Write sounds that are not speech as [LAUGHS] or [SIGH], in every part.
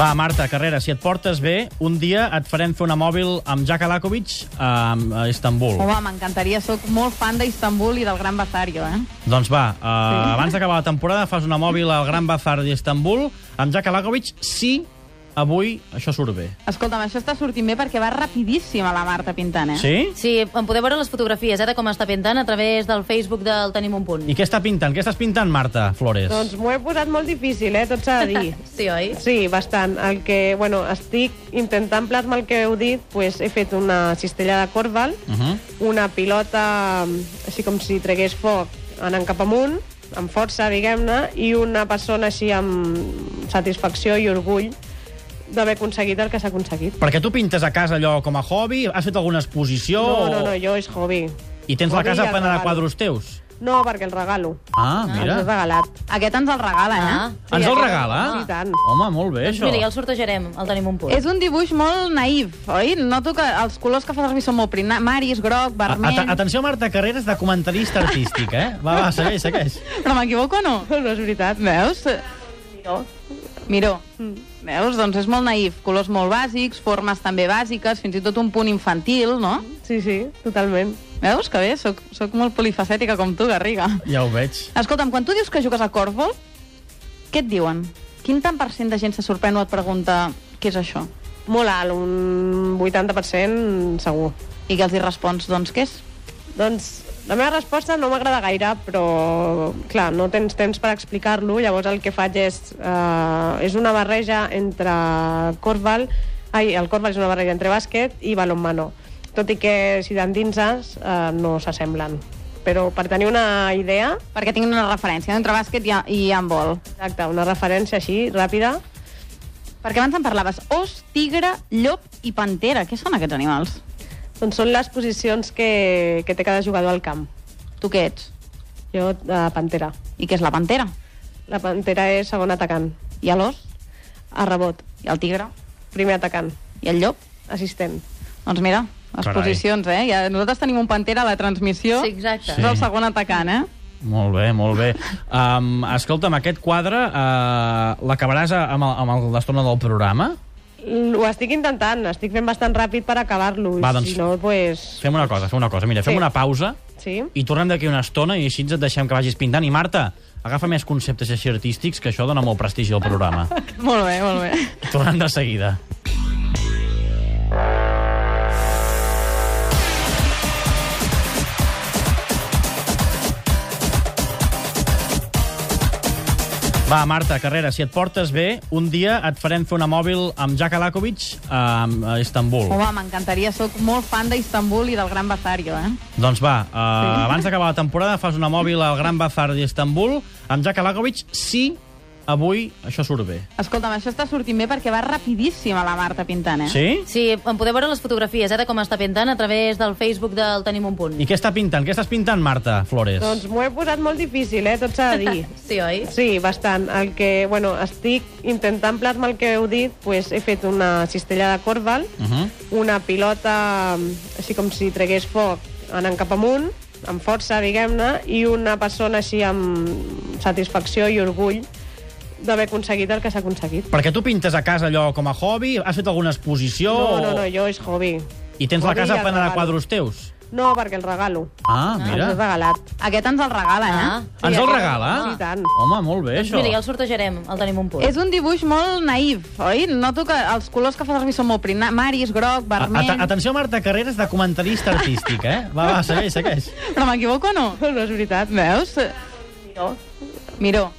Va, Marta, Carrera, si et portes bé, un dia et farem fer una mòbil amb Jack Alakovic a, a Istanbul. Home, m'encantaria, sóc molt fan d'Istanbul i del Gran Basario, eh? Doncs va, uh, sí. abans d'acabar la temporada fas una mòbil al Gran Bazar d'Istanbul amb Jack Alakovic si avui això surt bé. Escolta'm, això està sortint bé perquè va rapidíssima la Marta pintant, eh? Sí? Sí, en podeu veure les fotografies, eh, de com està pintant a través del Facebook del Tenim un punt. I què està pintant? Què estàs pintant, Marta Flores? Doncs m'ho he posat molt difícil, eh? Tot s'ha de dir. Sí, oi? Sí, bastant. El que, bueno, estic intentant plasmar el que heu dit, pues, he fet una cistella de corval, Uh -huh. una pilota, així com si tregués foc, anant cap amunt, amb força, diguem-ne, i una persona així amb satisfacció i orgull d'haver aconseguit el que s'ha aconseguit. Perquè tu pintes a casa allò com a hobby? Has fet alguna exposició? No, no, no, o- jo és hobby. I tens la Hobby casa i el plena de regalo. quadros teus? No, perquè el regalo. Ah, Ens és mira. regalat. Aquest ens el regala, Ah. eh? Ens el aquest- regala? Sí, tant. Home, molt bé, Doncs això. mira, ja el sortejarem, el Tenim un punt. És un dibuix molt naïf, oi? Noto que els colors que fa servir són molt primaris, groc, A- vermell... at- Atenció, Marta Carreras, de comentarista artístic, eh? Va, va, segueix, segueix. Però m'equivoco o no? No és veritat. Veus? Miró. Veus? Doncs és molt naïf. Colors molt bàsics, formes també bàsiques, fins i tot un punt infantil, no? Sí, sí, totalment. Veus que bé? Soc, soc molt polifacètica com tu, Garriga. Ja ho veig. Escolta'm, quan tu dius que jugues a corfball, què et diuen? Quin tant per cent de gent se sorprèn o et pregunta què és això? Molt alt, un 80% segur. I que els hi respons, doncs, què és? Doncs la meva resposta no m'agrada gaire, però clar, no tens temps per explicar-lo, llavors el que faig és, eh, és una barreja entre corval, ai, el corval és una barreja entre bàsquet i balonmano, tot i que si t'endinses eh, no s'assemblen. Però per tenir una idea, Perquè tinc una referència, entre bàsquet i, i handball. exacte, una referència així, ràpida, Perquè abans en parlaves. Os, tigre, llop i pantera. Què són aquests animals? doncs són les posicions que, que té cada jugador al camp. Tu què ets? Jo, eh, pantera. I què és la pantera? La pantera és segon atacant. I l'os? A rebot, I el tigre? primer atacant, I el llop? assistent. Doncs mira, les Carai. posicions, eh? Ja, nosaltres tenim un pantera a la transmissió. Sí, exacte. Sí. És el segon atacant, eh? Molt bé, molt bé. Um, escolta'm, aquest quadre uh, l'acabaràs a- amb, el, amb el- l'estona del programa? Mm, Ho estic intentant, estic fent bastant ràpid per acabar-lo. i Va, doncs- Si no, pues... Fem una cosa, fem una cosa. Mira, fem Sí. una pausa Sí? i tornem d'aquí una estona i així ens et deixem que vagis pintant. I Marta, agafa més conceptes així artístics, que això dona molt prestigi al programa. Molt bé, molt bé. Tornem de seguida. Va, Marta, Carrera, si et portes bé, un dia et farem fer una mòbil amb Jack Alakovic a, a Istanbul. Home, m'encantaria, sóc molt fan d'Istanbul i del Gran Basario, eh? Doncs va, uh, sí. abans d'acabar la temporada fas una mòbil al Gran Bazar d'Istanbul amb Jack Alakovic si avui això surt bé. Escolta'm, això està sortint bé perquè va rapidíssima la Marta pintant, eh? Sí? Sí, en podeu veure les fotografies, eh, de com està pintant a través del Facebook del Tenim un punt. I què està pintant? Què estàs pintant, Marta Flores? Doncs m'ho he posat molt difícil, eh? Tot s'ha [LAUGHS] de dir. Sí, oi? Sí, bastant. El que, bueno, estic intentant plasmar el que heu dit, pues, he fet una cistella de corval, Uh -huh. una pilota, així com si tregués foc, anant cap amunt, amb força, diguem-ne, i una persona així amb satisfacció i orgull d'haver aconseguit el que s'ha aconseguit. Perquè tu pintes a casa allò com a hobby? Has fet alguna exposició? No, no, o- no, jo és hobby. I tens la Hobby i casa el plena de regalo. quadros teus? No, perquè el regalo. Ah, Ens és mira. regalat. Aquest ens el regala, Ah. eh? Ens el aquest- regala? doncs Sí, tant. Home, molt bé, Doncs això. mira, ja el sortejarem, el Tenim un punt. És un dibuix molt naïf, oi? Noto que els colors que fa servir són molt primaris, groc, A- vermell... at- Atenció, Marta Carreras, de comentarista artístic, eh? Va, va, segueix, segueix. Però m'equivoco o no? No és veritat. Veus? Miró. Miró.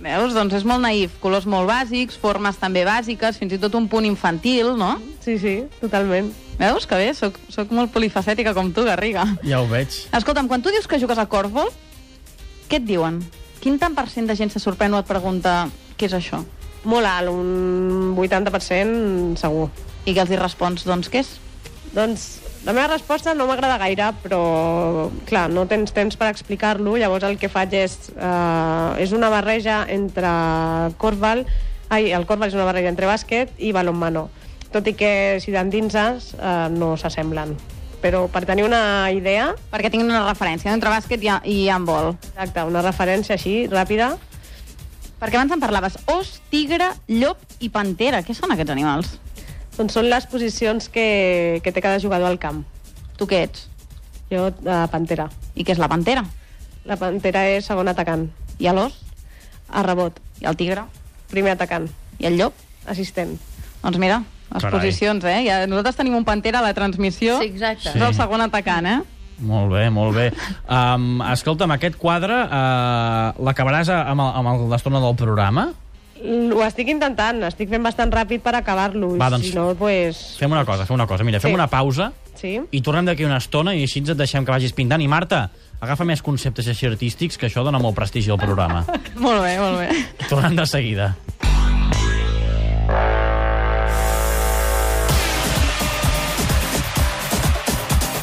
Veus? Doncs és molt naïf. Colors molt bàsics, formes també bàsiques, fins i tot un punt infantil, no? Sí, sí, totalment. Veus que bé? Soc, soc molt polifacètica com tu, Garriga. Ja ho veig. Escolta'm, quan tu dius que jugues a corfball, què et diuen? Quin tant per cent de gent se sorprèn o et pregunta què és això? Molt alt, un 80% segur. I que els hi respons, doncs, què és? Doncs la meva resposta no m'agrada gaire, però clar, no tens temps per explicar-lo, llavors el que faig és, eh, és una barreja entre corval, ai, el corval és una barreja entre bàsquet i balonmano, tot i que si t'endinses eh, no s'assemblen. Però per tenir una idea, Perquè tinc una referència entre bàsquet i, i handball. exacte, una referència així, ràpida, Perquè abans en parlaves. Os, tigre, llop i pantera. Què són aquests animals? Doncs són les posicions que, que té cada jugador al camp. Tu què ets? Jo, eh, pantera. I què és la pantera? La pantera és segon atacant. I l'os? A rebot, I el tigre? primer atacant. I el llop? Assistent. Doncs mira, les Carai. posicions, eh? Ja, nosaltres tenim un pantera a la transmissió. Sí, exacte. És Sí. el segon atacant, eh? Molt bé, molt bé. Um, escolta'm, aquest quadre uh, l'acabaràs a- amb, el, amb el- l'estona del programa? L- Ho estic intentant, estic fent bastant ràpid per acabar-lo. i Va, doncs- Si no, pues... Fem una cosa, fem una cosa. Mira, fem Sí. una pausa Sí? i tornem d'aquí una estona i així et deixem que vagis pintant. I Marta, agafa més conceptes així artístics, que això dona molt prestigi al programa. Molt bé, molt bé. Tornem de seguida.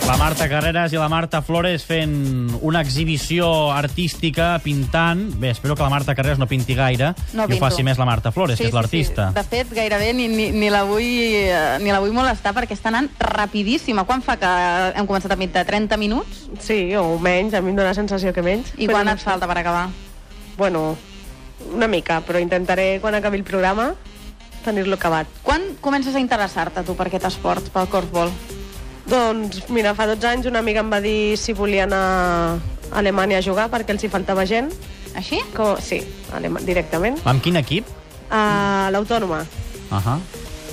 La Marta Carreras i la Marta Flores fent una exhibició artística pintant. Bé, espero que la Marta Carreras no pinti gaire i No ho pinto. faci més la Marta Flores, que és l'artista. Sí, sí. De fet, gairebé ni, ni, ni, la vull, eh, ni la vull molestar perquè està anant rapidíssima. Quan fa que hem començat a mitjà? 30 minuts? Sí, o menys, a mi em dóna la sensació que menys. I però quan no et falta per acabar? Bueno, una mica, però intentaré, quan acabi el programa, tenir-lo acabat. Quan comences a interessar-te tu per aquest esport, pel corfball? Doncs, mira, fa 12 anys una amiga em va dir si volia anar a Alemanya a jugar perquè els hi faltava gent. Així? Com, sí, a Alema- directament. Amb quin equip? A l'Autònoma. Uh -huh.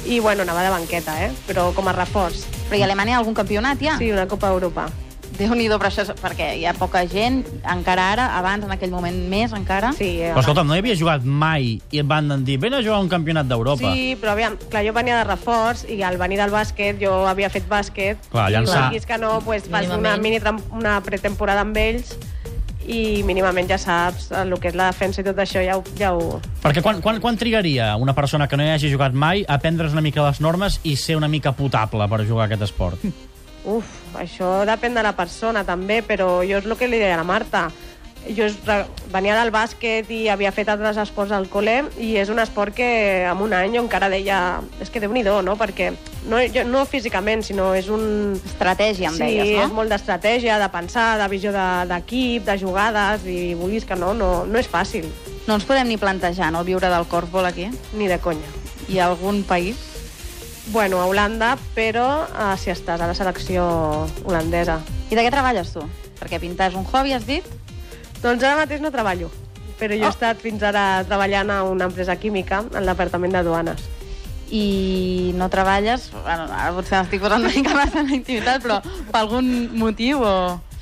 I, bueno, anava de banqueta, eh? Però com a reforç. Però i a Alemanya hi ha algun campionat ja? Sí, una Copa Europa. Déu-n'hi-do, però això és perquè hi ha poca gent, encara ara, abans, en aquell moment més, encara. Sí, eh? Però escolta'm, no hi havia jugat mai i et van dir vine a jugar a un campionat d'Europa. Sí, però aviam, clar, jo venia de reforç i al venir del bàsquet jo havia fet bàsquet. Clar, llançar. I vulguis que no, doncs, fas una, Mínimament. mini tram- una pretemporada amb ells i mínimament ja saps el que és la defensa i tot això ja ho, ja ho, Perquè quan, quan, quan trigaria una persona que no hi hagi jugat mai a aprendre's una mica les normes i ser una mica potable per jugar a aquest [LAUGHS] esport? Uf, això depèn de la persona també, però jo és el que li deia a la Marta. Jo és, re- venia del bàsquet i havia fet altres esports al col·le i és un esport que en un any jo encara deia... És que déu nhi no? Perquè no, jo, no físicament, sinó és un... Estratègia, em Sí, deies, és no? molt d'estratègia, de pensar, de visió de- d'equip, de, de jugades, i vulguis que no, no, no és fàcil, No ens podem ni plantejar, no?, viure del corfball aquí. ni de conya. I a algun país? Bueno, a Holanda, però eh, si estàs a la selecció holandesa. I de què treballes tu? Perquè pintar és un hobby, has dit? Doncs ara mateix no treballo, però jo he estat fins ara treballant a una empresa química, al departament de duanes. i no treballes, bueno, ara potser estic posant una mica massa en la intimitat, però per algun motiu o...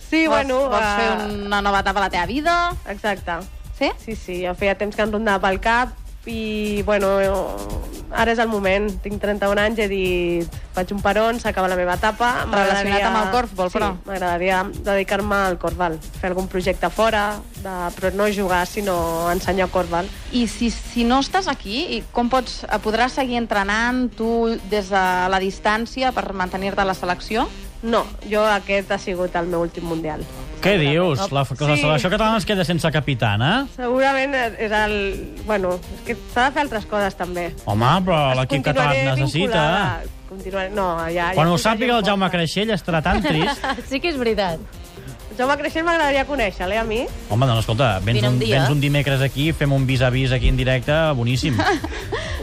Sí, vols, bueno, Vols eh, fer una nova etapa a la teva vida? Exacte. Sí? Sí, sí, ja feia temps que em rondava pel cap i, bueno, jo- ara és el moment. Tinc 31 anys, he dit, faig un peron, s'acaba la meva etapa. Relacionat M'agradaria- amb el corfball, però. Sí, m'agradaria dedicar-me al corfball, fer algun projecte fora, de, però no jugar, sinó ensenyar corfball. I si, si no estàs aquí, i com pots, eh, podràs seguir entrenant tu des de la distància per mantenir-te a la selecció? No, jo aquest ha sigut el meu últim mundial. Què dius? La, que la Sí. selecció catalana es queda sense capitana? Segurament és el... Bueno, és que s'ha de fer altres coses, també. Home, però l'equip català Continuaré et necessita. vinculada. Continuaré... No, ja... Quan ja ho estic sàpiga el allà Jaume fora. Creixell estarà [LAUGHS] tan trist. [LAUGHS] Sí que és veritat. Jaume Creixell m'agradaria conèixer-lo, eh, a mi. Home, doncs escolta, vens Vine un un, dia. vens un dimecres aquí, fem un vis-a-vis aquí en directe, [LAUGHS] boníssim.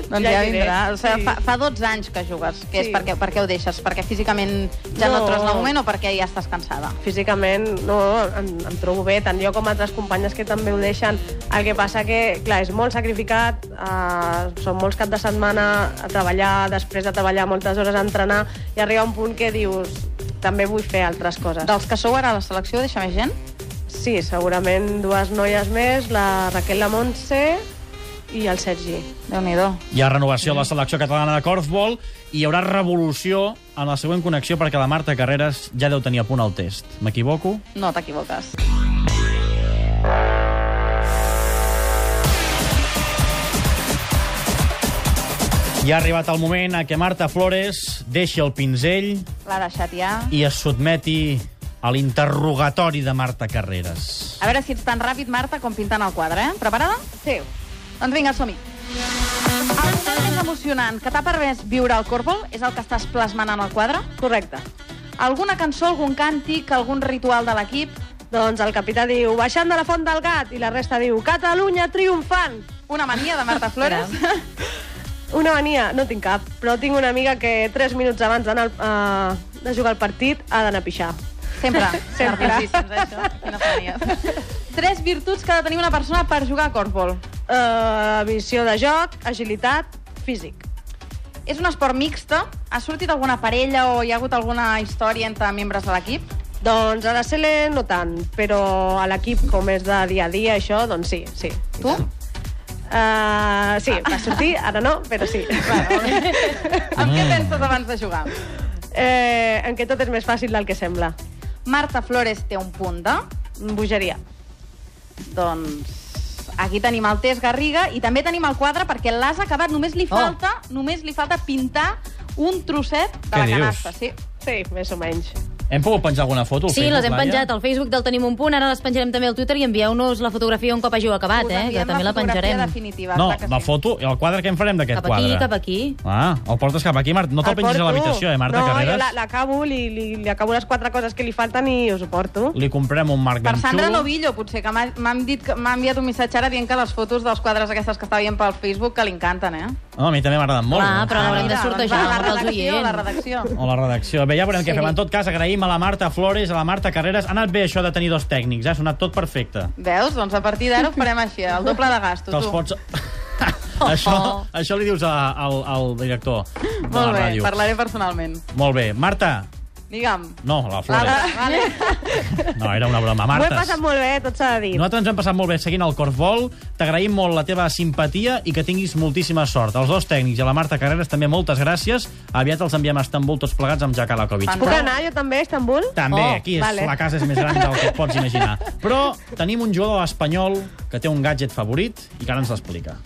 Doncs Ja ja, hi aniré. vindrà. O sigui, Sí. fa, fa 12 anys que jugues. Què és? Sí. Per què, per què ho deixes? Perquè físicament ja no, No. et trobes en el moment o perquè ja estàs cansada? Físicament, no, em, em trobo bé, tant jo com altres companyes que també ho deixen. El que passa que, clar, és molt sacrificat, eh, són molts cap de setmana a treballar, després de treballar moltes hores a entrenar, i arriba un punt que dius, també vull fer altres coses. Dels que sou ara a la selecció, deixa més gent? Sí, segurament dues noies més, la Raquel La Montse i el Sergi. Déu-n'hi-do. Hi ha renovació a la selecció catalana de corfball i hi haurà revolució en la següent connexió perquè la Marta Carreras ja deu tenir a punt el test. M'equivoco? No t'equivoques. I ha arribat el moment a què Marta Flores deixi el pinzell L'ha deixat ja. i es sotmeti a l'interrogatori de Marta Carreras. A veure si ets tan ràpid, Marta, com pintant el quadre, eh? Preparada? Sí. Doncs vinga, som-hi. El moment més emocionant que t'ha permès viure al Corpol és el que estàs plasmant en el quadre? Correcte. Alguna cançó, algun càntic, algun ritual de l'equip? Doncs el capità diu, baixant de la font del gat, i la resta diu, Catalunya triomfant! Una mania de Marta Flores. Una mania, no tinc cap, però tinc una amiga que 3 minuts abans d'anar al- eh, de jugar al partit ha d'anar a pixar. Sempre. Sempre. Nerviosíssims, això. Quina mania. [LAUGHS] Tres virtuts que ha de tenir una persona per jugar a corfball. Uh, visió de joc, agilitat, físic. És un esport mixte. Ha sortit alguna parella o hi ha hagut alguna història entre membres de l'equip? Doncs a la CL no tant, però a l'equip, com és de dia a dia, això, doncs sí, sí. Tu? Uh, sí, va sortir, ara no, però sí. Amb què penses abans de jugar? Eh, en què tot és més fàcil del que sembla. Marta Flores té un punt de... Bogeria. Doncs aquí tenim el Test Garriga i també tenim el quadre perquè l'has acabat. Només li Oh. falta, només li falta pintar un trosset de Què la dius? canasta. Sí. Sí, més o menys. Hem pogut penjar alguna foto? al Sí, Facebook, les hem Laia? penjat al Facebook del Tenim un punt, ara les penjarem també al Twitter i envieu-nos la fotografia un cop hàgiu acabat, Us eh? Que enviem també la fotografia penjarem. Definitiva, No, clar que la sí. foto i el quadre que en farem d'aquest Cap aquí, quadre? cap aquí. Ah, el portes cap aquí, Marta. No te'l El pengis a porto. l'habitació, eh, Marta no, Carreras? No, jo la- l'acabo, li, li, li acabo les quatre coses que li falten i us ho porto. Li comprem un marc Per ganxo. Sandra Novillo, potser, que m'ha m'ha dit que- m'ha enviat un missatge ara dient que les fotos dels quadres aquestes que està veient pel Facebook que li encanten, eh? No, a mi també m'agraden molt. Clar, però l'haurem Ah, de Mira, sortejar doncs va, pels la redacció, oients. la redacció. O la redacció. Bé, ja veurem sí. què fem. En tot cas, agraïm a la Marta Flores, a la Marta Carreras. Ha anat bé això de tenir dos tècnics, eh? ha sonat tot perfecte. Veus? Doncs a partir d'ara ho farem així, el doble de gasto, Te'ls tu. pots... [LAUGHS] [LAUGHS] això, Oh. això li dius a, al, al director de la Molt bé, ràdio. parlaré personalment. Molt bé. Marta, Digue'm. no, la Ara, Flores. vale. No, era una broma. Ah, M'ho he Martes, passat molt bé, tot s'ha de dir. nosaltres ens hem passat molt bé seguint el Corfbol. T'agraïm molt la teva simpatia i que tinguis moltíssima sort. Els dos tècnics i a la Marta Carreras també moltes gràcies. Aviat els enviem a Istanbul tots plegats amb Jack Alakovic. Fan- Puc anar jo també a Istanbul? També, Oh, oh, aquí és, vale. vale. la casa és més gran del que et pots imaginar. Però tenim un jugador espanyol que té un gadget favorit i que ara ens l'explica.